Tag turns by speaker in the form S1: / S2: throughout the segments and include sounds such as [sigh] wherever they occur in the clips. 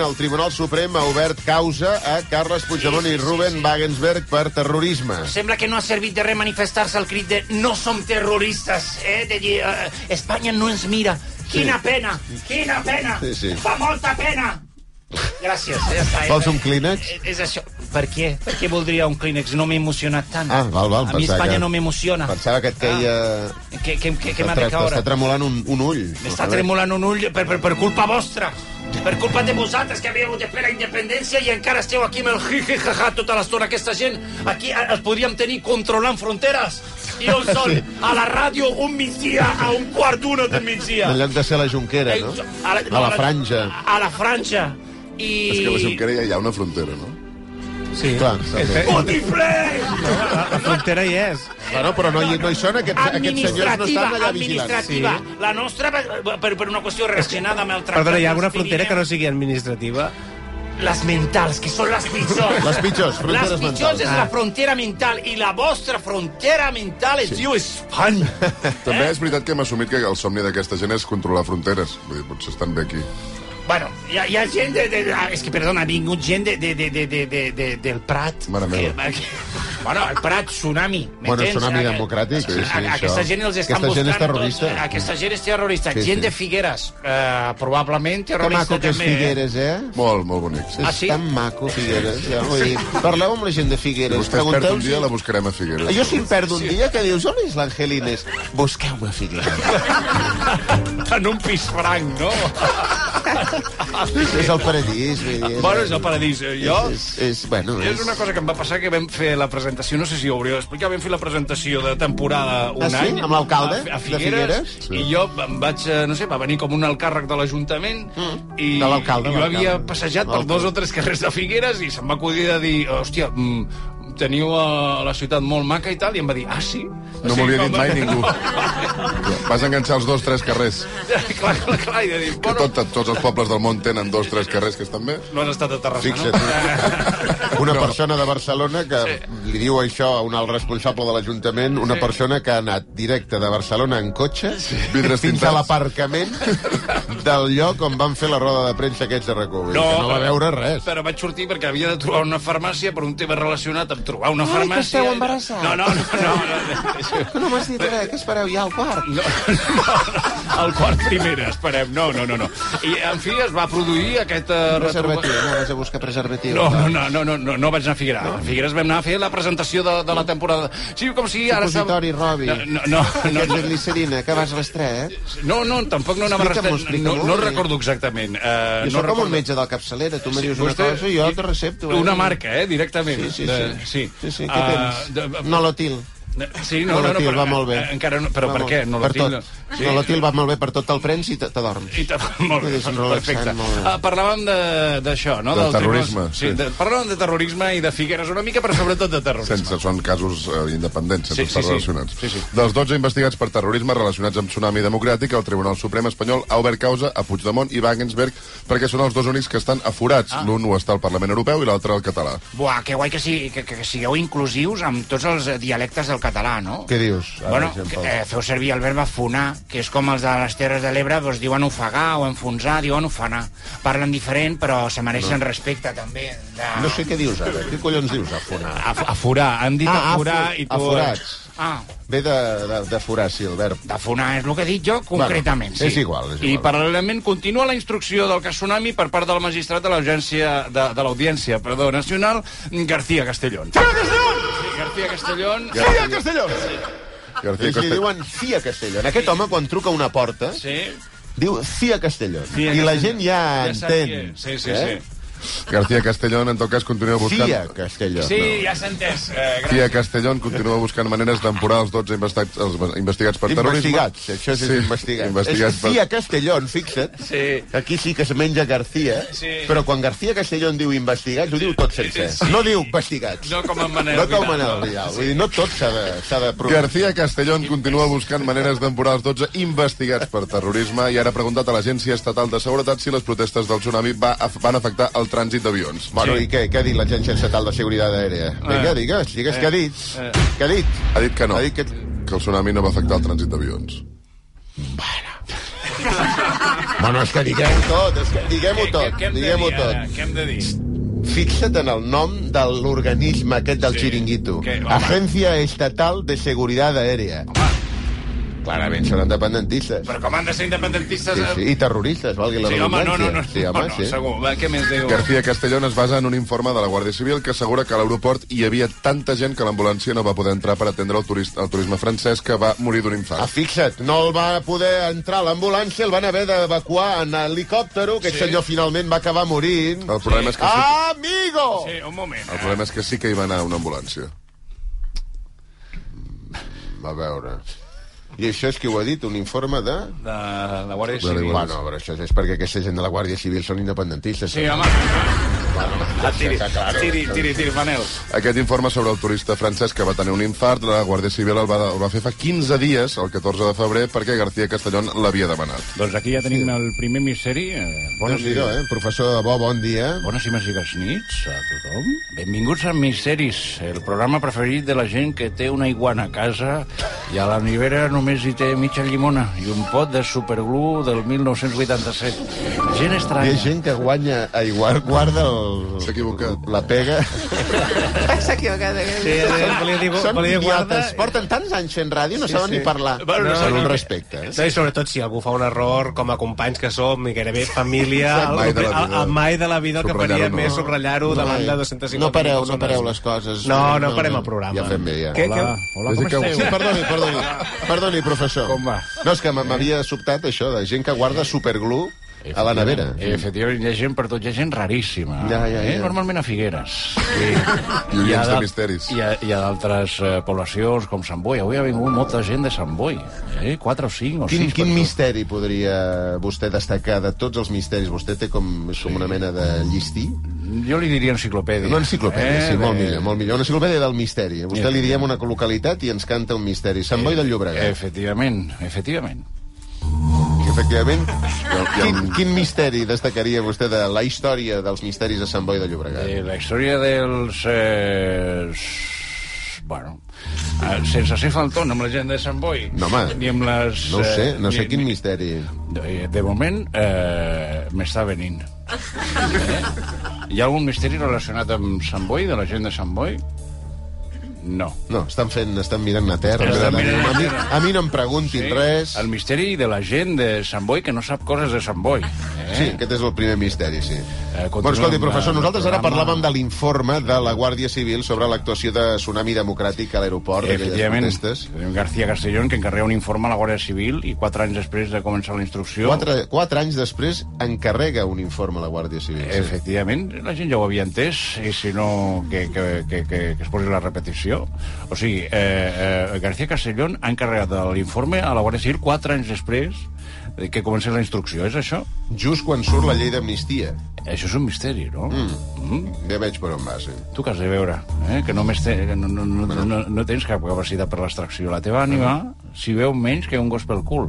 S1: El Tribunal Suprem ha obert causa a Carles Puigdemont i Ruben Wagensberg per terrorisme.
S2: Sembla que no ha servit de res manifestar-se el crit de no som terroristes, eh? De dir, eh, Espanya no ens mira. Quina sí. pena, quina pena.
S1: Sí, sí.
S2: Fa molta pena. Gràcies, eh, ja està.
S1: Vols un Kleenex?
S2: Eh, És això. Per què? Per què voldria un Kleenex? No m'he emocionat tant.
S1: Ah, val, val,
S2: A mi
S1: pensava
S2: Espanya
S1: que-
S2: no m'emociona.
S1: Pensava que et queia...
S2: Que, que, que, que Ah. m'ha de
S1: T'està
S2: caure.
S1: t'està tremolant un, un ull.
S2: M'està tremolant un ull per, per, per culpa vostra. Per culpa de vosaltres, que havíeu de fer la independència i encara esteu aquí amb el jijijaja tota l'estona. Aquesta gent, aquí eh, els podríem tenir controlant fronteres. I
S1: [laughs]
S2: on són?
S1: Sí.
S2: A la ràdio, un migdia, a un quart d'una del migdia.
S1: En lloc de ser la Junquera, no?
S2: A la,
S1: A la franja.
S2: A la franja. I...
S3: És que a la Junquera ja hi ha una frontera, no?
S4: Sí.
S1: Clar, també.
S2: Múltiple!
S4: La frontera hi és.
S1: Bueno, però no, hi, no hi són, aquests, aquests senyors no
S2: administrativa,
S1: estan allà vigilants.
S2: administrativa. La nostra, va- per, per una qüestió relacionada amb el tractat...
S4: Perdona, hi ha alguna
S2: dels
S4: frontera que no
S2: Pirineus.
S4: sigui administrativa?
S2: Les mentals, que són les pitjors.
S1: Les pitjors, fronteres
S2: Les pitjors
S1: mentals.
S2: és la frontera mental, i la vostra frontera mental es sí. diu Espanya.
S3: També és veritat que hem assumit que el somni d'aquesta gent és controlar fronteres. Vull dir, potser estan bé aquí.
S2: [laughs] Bueno, hi ha, hi ha gent de, de, de... ah, És que, perdona, ha vingut gent de, de, de, de, de, de, de del Prat.
S3: Mare meva.
S2: Que, que, bueno, el Prat, tsunami.
S1: Bueno,
S2: m'entens?
S1: tsunami
S2: Aqu-
S1: democràtic, sí, sí,
S2: a- a- Aquesta
S1: això.
S2: gent els estan
S1: Aquesta gent
S2: buscant
S1: és
S2: a
S1: terrorista.
S2: tots. Aquesta gent és terrorista.
S1: Sí,
S2: Sí, gent
S1: sí.
S2: sí. de Figueres, eh, probablement
S1: Que
S2: terrorista
S1: maco que és
S2: també. eh?
S1: Figueres, eh?
S3: Molt, molt bonic.
S1: És
S2: Ah, sí?
S1: tan maco, Figueres. Ja, vull dir, parleu amb la gent de
S3: Si
S1: Figueres.
S3: vostè es perd un
S1: si-
S3: dia, la buscarem a Figueres.
S1: Jo si em perdo un dia, que dius, on és l'Angelines? Busqueu-me a Figueres.
S2: [laughs] En un pis franc,
S1: [laughs]
S2: no?
S1: és el paradís, vull dir.
S2: bueno, és el paradís. eh? Jo,
S1: És, és, bueno,
S2: Jo és una cosa que em va passar que vam fer la presentació, no sé si ho hauríeu d'explicar, vam fer la presentació de temporada un
S1: Ah, sí?
S2: any.
S1: Amb l'alcalde
S2: a, a
S1: de
S2: Figueres,
S1: Figueres?
S2: Sí. I jo em vaig, eh, no sé, va venir com un alt càrrec de l'Ajuntament mm. i
S1: De l'alcalde,
S2: i jo
S1: l'alcalde.
S2: havia passejat per dos o tres carrers de Figueres i se'm va acudir de dir, hòstia, mm, teniu a la ciutat molt maca i tal, i em va dir, ah, sí?
S3: No m'ho havia dit mai ningú. Vas enganxar els dos, tres carrers.
S2: [laughs] clar, clar, clar, i de dir,
S3: Que
S2: bueno,
S3: tot, tots els pobles del món tenen dos, tres carrers que estan bé.
S2: no has estat a Terrassa, no?
S1: Fixa't. [laughs] Una persona de Barcelona que li diu això a un alt responsable de l'Ajuntament, una persona que ha anat directe de Barcelona en cotxe
S3: Vidres
S1: fins a
S3: tintats.
S1: l'aparcament del lloc on van fer la roda de premsa aquests de racó. No, que no va veure res.
S2: Però vaig sortir perquè havia de trobar una farmàcia per un tema relacionat amb trobar una farmàcia.
S1: esteu embarassats.
S2: No, no, no. no, no,
S1: No m'has dit res, que espereu ja al quart.
S2: no, no, el quart primera, esperem. No, no, no, no. I, en fi, es va produir aquest... eh, retroba-
S1: Preservatiu, anaves a buscar preservatiu.
S2: No, no, no, no, no, no, no vaig anar a Figueres. No. A Figueres vam anar a fer la presentació de, de la temporada. Sí, com si ara... sab-
S1: Supositori, Robi.
S2: No, no, no, no,
S1: Aquests
S2: no, Eh,
S1: de glicerina, que vas eh? restret.
S2: no, no, tampoc no anava
S1: Explica'm-ho,
S2: rastret. No,
S1: explica'm-ho.
S2: no recordo exactament. Eh, no
S1: Jo sóc com un
S2: recordo.
S1: metge del capçalera, tu me
S2: Sí,
S1: dius una
S2: vostè-
S1: cosa i jo te recepto. eh?
S2: Una marca, eh, directament.
S1: Sí, sí,
S2: De-
S1: sí.
S2: sí.
S1: sí, sí. Què
S2: Ah,
S1: tens?
S2: de-
S1: Nolotil.
S2: Sí, no, no, no,
S1: Nolotil,
S2: però,
S1: va molt bé.
S2: eh, encara no, però
S1: Va
S2: per
S1: molt-
S2: què? No
S1: per
S2: la tinc,
S1: tot.
S2: no. Sí.
S1: Nolotil va molt bé per tot el prens i te- t'adorms.
S2: I te... [laughs] molt bé,
S1: És un relaxant,
S2: perfecte.
S1: molt bé.
S2: Ah, parlàvem de- d'això, no?
S3: Del
S2: Dels tribunals.
S3: terrorisme,
S2: Sí,
S3: sí.
S2: de, parlàvem de terrorisme i de Figueres una mica, però sobretot de terrorisme.
S3: Sense, són casos eh, independents, sense
S2: Sí,
S3: sí,
S2: sí,
S3: estar
S2: sí.
S3: relacionats.
S2: Sí, sí.
S3: Dels 12 investigats per terrorisme relacionats amb Tsunami Democràtic, el Tribunal Suprem espanyol ha obert causa a Puigdemont i Wagensberg perquè són els dos únics que estan aforats. Ah. L'un ho està al Parlament Europeu i l'altre al català.
S2: Buah, que guai que, sigui, que, que, que sigueu inclusius amb tots els eh, dialectes del català, no?
S1: Què dius? Ara,
S2: Bueno,
S1: exemple.
S2: que, eh, feu servir el verb afonar, que és com els de les Terres de l'Ebre, doncs diuen ofegar o enfonsar, diuen ofenar. Parlen diferent, però se mereixen no. respecte, també. De...
S1: No sé què dius ara. Què collons dius, afonar?
S2: Af aforar, han dit
S1: Ah,
S2: aforar
S1: afo-
S2: i tu...
S1: aforats.
S2: Ah,
S1: Ve de, de, de forar, sí, el verb.
S2: D'afonar és el que he dit jo, concretament.
S1: Bueno,
S2: sí.
S1: és igual, és igual.
S2: I paral·lelament continua la instrucció del cas Tsunami per part del magistrat de l'audiència de, de l'Audiència perdó, Nacional, García Castellón. García Castellón! García Castellón...
S1: Fia Castellón!
S3: García
S1: Ells li
S3: Castelló.
S1: diuen Fia Castellón. Aquest home, quan truca a una porta,
S2: Sí,
S1: diu Fia Castellón.
S2: Fia
S1: I la
S2: Castellón.
S1: gent ja,
S2: ja sap
S1: Ah, entén.
S2: qui és. Sí, sí,
S1: eh?
S2: sí.
S5: García Castellón, en tot cas, continua buscant...
S1: Cia Castelló.
S6: Sí, ja s'ha entès. Eh, gràcies.
S5: Cia Castellón continua buscant maneres d'emporar els 12 investigats, els investigats per terrorisme.
S1: Investigats, això sí,
S5: Sí,
S1: és investigat.
S5: investigats
S1: és que
S5: per-
S1: Cia Castellón, fixa't,
S6: Sí.
S1: aquí sí que es menja García,
S6: Sí.
S1: però quan García Castellón diu investigats, ho diu tot sencer.
S6: Sí.
S1: No diu investigats.
S6: No com en Manel
S1: No com
S6: Vidal,
S1: en el
S6: no.
S1: Vidal. Vull dir, no tot s'ha de, s'ha de provar.
S5: García Castellón continua buscant maneres d'emporar els 12 investigats per terrorisme i ara ha preguntat a l'Agència Estatal de Seguretat si les protestes del tsunami va, af- van afectar el trànsit d'avions.
S1: Bueno, i què, què ha dit l'Agència Estatal de Seguretat Aèria?
S6: Eh.
S1: Vinga, digues, digues què ha dit. Què ha dit?
S5: Ha dit que no,
S1: Ha dit que...
S5: que el tsunami no va afectar el trànsit d'avions.
S1: Bueno, és que diguem-ho tot, és que diguem-ho
S6: Què-
S1: tot,
S6: què hem de
S1: diguem-ho
S6: dir, ara?
S1: tot.
S6: Què hem de dir?
S1: Fixa't en el nom de l'organisme aquest del
S6: Sí.
S1: xiringuito.
S6: Que- home.
S1: Agència Estatal de Seguretat Aèria. Clarament són independentistes.
S6: Però com han de ser independentistes...
S1: Sí,
S6: eh?
S1: sí, I terroristes, valgui la
S6: Sí, home, no, no, no.
S1: redundància. Sí, home,
S6: no,
S1: sí.
S6: Segur. Va, què més diu?
S5: García Castellón es basa en un informe de la Guàrdia Civil que assegura que a l'aeroport hi havia tanta gent que l'ambulància no va poder entrar per atendre el, turist, el turisme francès que va morir d'un
S1: Ah,
S5: infart.
S1: fixa't, no el va poder entrar a l'ambulància, el van haver d'evacuar en helicòptero, que sí. aquest senyor finalment va acabar morint.
S5: El problema, és que
S1: Ah!
S5: sí,
S1: Amigo!
S6: Sí, un moment.
S5: el problema és que sí que hi va anar una ambulància. Mm,
S1: A veure... I això és qui ho ha dit, un informe de...
S6: De la Guàrdia
S5: De la
S6: Civil.
S5: Guàrdia.
S1: Bueno, però això és perquè aquesta gent de la Guàrdia Civil són independentistes.
S6: Sí, home. Ah, Tiri, tiri, tiri, tiri, Manel.
S5: Aquest informe sobre el turista francès que va tenir un infart, la Guàrdia Civil el va, el va fer fa 15 dies, el 14 de febrer, perquè García Castellón l'havia demanat.
S2: Doncs aquí ja tenim el primer misteri. Eh, Bones,
S1: Déu-n'hi-do, eh? Professor de Bo, bon dia.
S2: bones i màgiques nits a tothom. Benvinguts a Misteris, el programa preferit de la gent que té una iguana a casa i a la nevera només hi té mitja llimona i un pot de superglú del 1987. Gent
S1: Hi ha
S2: estranya.
S1: gent que guanya... A igual guarda el...
S5: S'ha equivocat.
S1: La pega.
S7: S'ha equivocat.
S4: Sí, eh, volia dir...
S1: Són
S4: volia guardar...
S1: idiotes. Porten tants anys fent ràdio, no sí, saben sí. ni parlar.
S3: Bueno, no
S1: Amb
S3: saben
S1: un
S3: què-
S1: respecte. Eh?
S4: No, I sobretot si algú fa un error, com a companys que som, i gairebé família,
S5: Exacte.
S4: el,
S5: Mai de
S4: el,
S5: la
S4: el,
S5: vida.
S4: mai de la vida el que
S5: Subratllar-ho
S4: faria
S5: no.
S4: no. més subratllar-ho davant de
S1: Ai,
S4: 250
S1: No pareu, no
S4: persones.
S1: pareu les coses.
S4: No, no parem el programa.
S1: Ja fem bé, ja.
S4: Què, què?
S2: Hola, hola,
S5: Des
S2: com
S5: que-
S1: Sí,
S2: esteu?
S1: perdoni, perdoni, perdoni, professor.
S2: Com va?
S1: No, és que m- m'havia sobtat això de gent que guarda superglú a la nevera.
S2: Eh, efectivament, hi ha gent per tot, hi ha gent raríssima.
S1: Ja, ja,
S2: eh?
S1: ja.
S2: Normalment a Figueres.
S5: I oients de
S2: d'al-
S5: misteris.
S2: Hi ha, hi ha d'altres eh, poblacions com Sant Boi. Avui ha vingut molta gent de Sant Boi. Eh? Quatre o cinc o
S1: Quin,
S2: sis.
S1: quin
S2: persones.
S1: misteri podria vostè destacar de tots els misteris? Vostè té com, és com una mena de llistí?
S2: Jo li diria enciclopèdia. Eh,
S1: Una enciclopèdia,
S4: Eh,
S1: sí,
S2: de-
S1: molt millor, molt millor. Una enciclopèdia del misteri. A vostè li diem una localitat i ens canta un misteri. Sant Boi del Llobregat.
S2: Efectivament, efectivament.
S1: Efectivament.
S5: hi ha
S1: Quin,
S5: un-
S1: quin misteri destacaria vostè de la història dels misteris de Sant Boi de Llobregat?
S2: Eh, la història dels... Eh, s- bueno, eh, sense ser faltón amb la gent de Sant Boi.
S1: No, home,
S2: Ni amb les...
S1: No ho sé,
S2: eh,
S1: no sé
S2: ni-
S1: quin
S2: ni-
S1: misteri.
S2: De, de moment, eh, m'està venint. Eh? Hi ha algun misteri relacionat amb Sant Boi, de la gent de Sant Boi? No.
S1: No, estan fent, estan mirant a terra.
S2: Estan mirant a
S1: a, mi,
S2: terra.
S1: a mi no em preguntin sí, res.
S2: El misteri de la gent de Sant Boi que no sap coses de Sant Boi. Eh?
S1: Sí, aquest és el primer misteri, sí. Eh,
S2: continuem
S1: bueno, escolti,
S2: amb
S1: professor,
S2: el
S1: nosaltres ara
S2: programa.
S1: parlàvem de l'informe de la Guàrdia Civil sobre l'actuació de Tsunami Democràtic a l'aeroport, d'aquelles
S2: Efectivament,
S1: protestes.
S2: tenim García Castellón, que encarrega un informe a la Guàrdia Civil i quatre anys després de començar la instrucció...
S1: Quatre, quatre anys després encarrega un informe a la Guàrdia Civil. Sí.
S2: Efectivament, la gent ja ho havia entès, i si no, que, que, que, que, que es posi la repetició. O sigui, eh, eh, García Castellón ha encarregat l'informe a la Guàrdia Civil quatre anys després de que comenci la instrucció, és això?
S1: Just quan surt la llei d'amnistia.
S2: Això és un misteri, no? Mm. Mm?
S1: Ja veig per on va, sí.
S2: Tu que has de veure, eh? que només te, no, no, no, no, no tens cap capacitat per l'extracció. La teva ànima, si veu menys que un gos pel cul.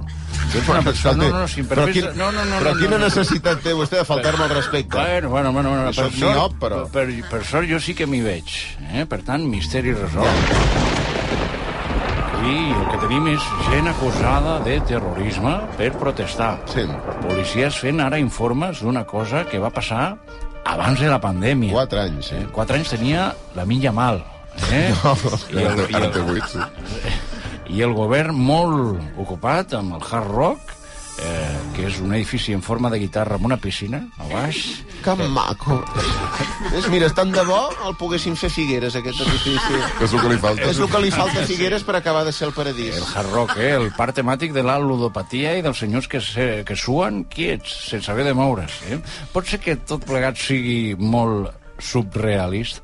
S2: Tu ets una persona... No, no, no, si em
S1: però
S2: permets...
S1: quin,
S2: No, no, no,
S1: però
S2: no,
S1: quina
S2: no, no.
S1: necessitat té vostè de faltar-me el respecte?
S2: Bueno, bueno, bueno, bueno
S1: Això
S2: per,
S1: és
S2: sort,
S1: miop, però.
S2: per, per sort jo sí que m'hi veig. Eh? Per tant, misteri resolt. I el que tenim és gent acusada de terrorisme per protestar.
S1: Sí.
S2: Policies fent ara informes d'una cosa que va passar abans de la pandèmia.
S1: Quatre anys, sí.
S2: Eh? Quatre anys tenia la milla mal. Eh? No.
S8: [laughs]
S2: I,
S5: Ara
S2: el,
S5: té-
S2: i,
S5: ara té
S2: el,
S5: vuit, sí.
S2: I el govern molt ocupat amb el hard rock eh, que és un edifici en forma de guitarra amb una piscina a baix.
S8: Que maco. És, mira, tant de bo el poguessin fer Figueres, aquest edifici.
S5: És el que li falta.
S8: És el que li falta a Figueres per acabar de ser el paradís.
S2: El hard rock, eh? El part temàtic de la ludopatia i dels senyors que, se, que suen quiets, sense haver de moure's. Eh? Pot ser que tot plegat sigui molt subrealista.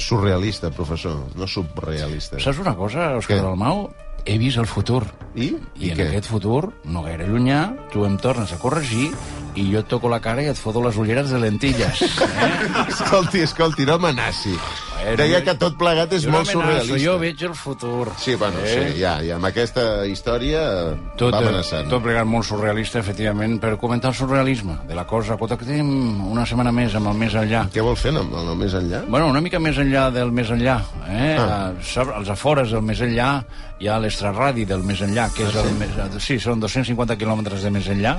S8: Surrealista, professor, no subrealista.
S2: Saps una cosa, Òscar
S8: Què?
S2: Dalmau? He vist el futur.
S8: I?
S2: I, en
S8: què?
S2: aquest futur, no gaire llunyà, tu em tornes a corregir i jo et toco la cara i et foto les ulleres de lentilles.
S8: Escolti, escolti, no amenaci. Deia que tot plegat és
S2: Jo no
S8: molt
S2: amenaço,
S8: surrealista.
S2: Jo veig el futur.
S8: Sí, bueno,
S2: Eh?
S8: sí, ja, ja, amb aquesta història
S2: Tot,
S8: va
S2: eh,
S8: amenaçant.
S2: tot plegat molt surrealista, efectivament, per comentar el surrealisme de la cosa. Contactem una setmana més amb el més enllà.
S8: Què vol fer, no, no més enllà?
S2: Bueno, una mica més enllà del més enllà, eh?
S8: Ah.
S2: Ah. Als afores del més enllà hi ha l'estraradi del més enllà, que
S8: Ah,
S2: és el més... eh, Sí, són 250 quilòmetres de més enllà.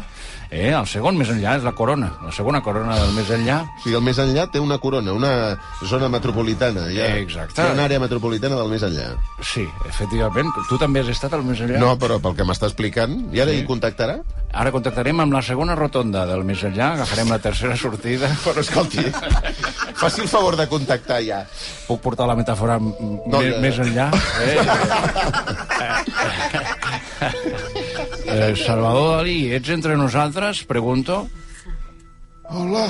S2: Eh? El segon més enllà és la corona, la segona corona del més enllà.
S8: O sigui, el més enllà té una corona, una zona metropolitana. Ja.
S2: Exacte.
S8: Té una àrea metropolitana del més enllà.
S2: Sí, efectivament. Tu també has estat al més enllà?
S8: No, però pel que m'està explicant, i ara hi contactarà?
S2: Ara contactarem amb la segona rotonda del més enllà, agafarem la tercera
S8: [laughs]
S2: sortida...
S8: Però escolti, faci el favor de contactar ja.
S2: Puc portar la metàfora m-
S8: No,
S2: més,
S8: ja.
S2: més enllà? Eh? eh, Salvador Dalí, ets entre nosaltres? Pregunto.
S5: Hola.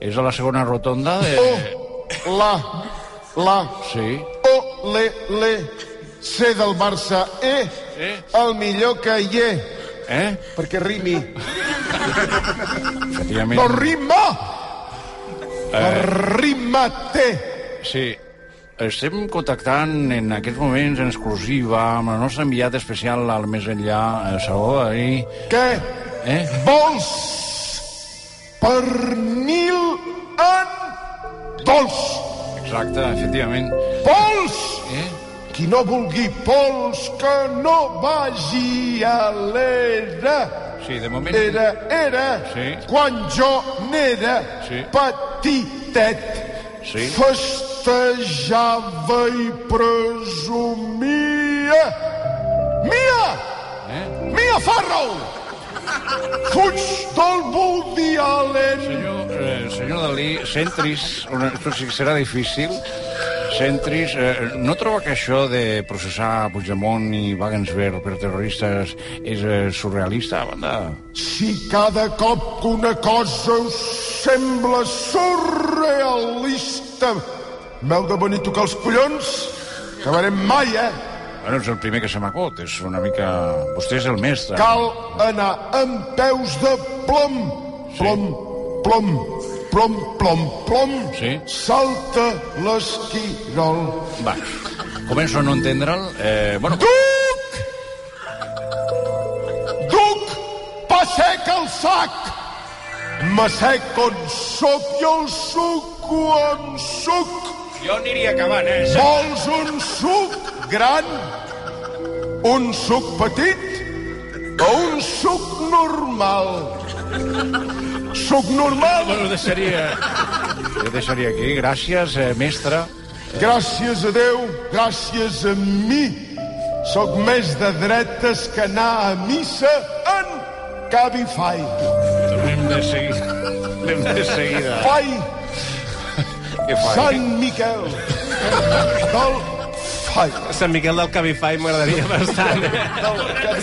S2: És a la segona rotonda
S8: Eh.
S2: de...
S8: Oh!
S5: Oh, La. La.
S2: Sí.
S5: O. Le. Le. C del Barça. E.
S2: Eh?
S5: El millor que hi he.
S2: Eh?
S5: Perquè rimi.
S2: Efectivament.
S5: No rima! Eh. Rimate.
S2: Sí. Estem contactant en aquests moments en exclusiva amb el nostre enviat especial al més enllà, eh, Salvador Dalí.
S5: Què
S2: Eh?
S5: vols? Pernil en dolç.
S2: Exacte, efectivament.
S5: Pols!
S2: Eh?
S5: Qui no vulgui pols, que no vagi a l'era.
S2: Sí, de moment...
S5: Era, era,
S2: Sí.
S5: quan jo n'era
S2: Sí.
S5: petitet.
S2: Sí.
S5: Festejava i presumia. Mia!
S2: Eh?
S5: Mia Farrow! Fuig del Woody Allen.
S2: Senyor, eh, senyor Dalí, centris, una, això sí que serà difícil, centris, eh, no troba que això de processar Puigdemont i Wagensberg per terroristes és eh, surrealista, a banda?
S5: Si cada cop que una cosa us sembla surrealista, m'heu de venir a tocar els collons? Acabarem mai, eh?
S2: Bueno, és el primer que se m'acut, és una mica... Vostè és el mestre.
S5: Cal anar amb peus de plom, plom, plom, plom, plom, plom.
S2: Sí.
S5: Salta l'esquirol.
S2: Va, començo a no entendre'l. Eh, bueno,
S5: Duc! Duc, passec el sac! M'assec on soc i el suc on suc.
S2: jo aniria acabant, eh?
S5: Vols un suc gran? Un suc petit? O un suc normal? Suc normal?
S2: Bueno, deixaria... Jo deixaria aquí. Gràcies, eh, mestre.
S5: Gràcies a Déu, gràcies a mi. Soc més de dretes que anar a missa en Cabify.
S2: L'hem de seguida. L'hem de seguida.
S5: Fai,
S2: Què fa?
S5: Sant Miquel. Del Fai.
S4: Sant Miquel del Cabify m'agradaria bastant.
S5: Del Cabify.